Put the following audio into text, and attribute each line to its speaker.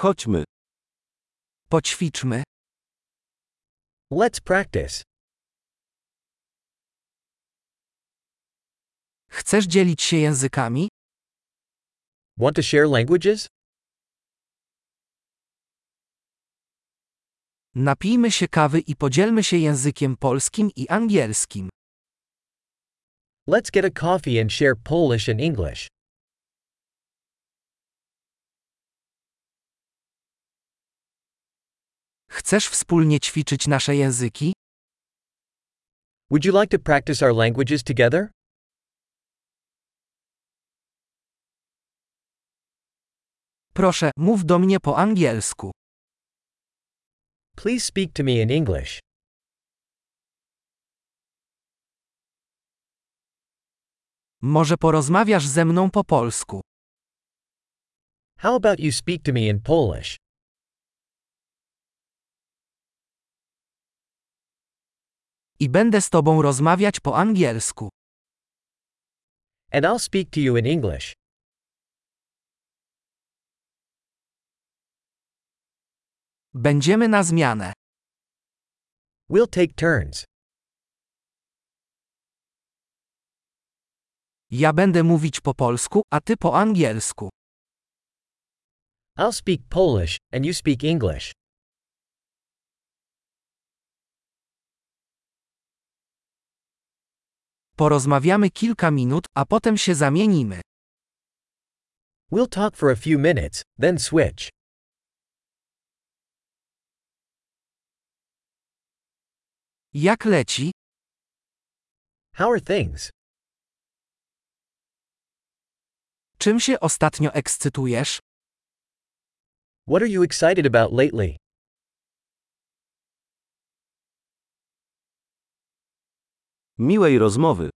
Speaker 1: Chodźmy. Poćwiczmy.
Speaker 2: Let's practice.
Speaker 1: Chcesz dzielić się językami?
Speaker 2: Want to share languages?
Speaker 1: Napijmy się kawy i podzielmy się językiem polskim i angielskim.
Speaker 2: Let's get a coffee and share Polish and English.
Speaker 1: Chcesz wspólnie ćwiczyć nasze języki?
Speaker 2: Would you like to practice our languages together?
Speaker 1: Proszę, mów do mnie po angielsku.
Speaker 2: Please speak to me in English.
Speaker 1: Może porozmawiasz ze mną po polsku.
Speaker 2: How about you speak to me in Polish?
Speaker 1: I będę z tobą rozmawiać po angielsku.
Speaker 2: And I'll speak to you in English.
Speaker 1: Będziemy na zmianę.
Speaker 2: We'll take turns.
Speaker 1: Ja będę mówić po polsku, a ty po angielsku.
Speaker 2: I'll speak Polish, and you speak English.
Speaker 1: Porozmawiamy kilka minut, a potem się zamienimy.
Speaker 2: We'll talk for a few minutes, then switch.
Speaker 1: Jak leci?
Speaker 2: How are things?
Speaker 1: Czym się ostatnio ekscytujesz?
Speaker 2: What are you excited about lately?
Speaker 1: Miłej rozmowy.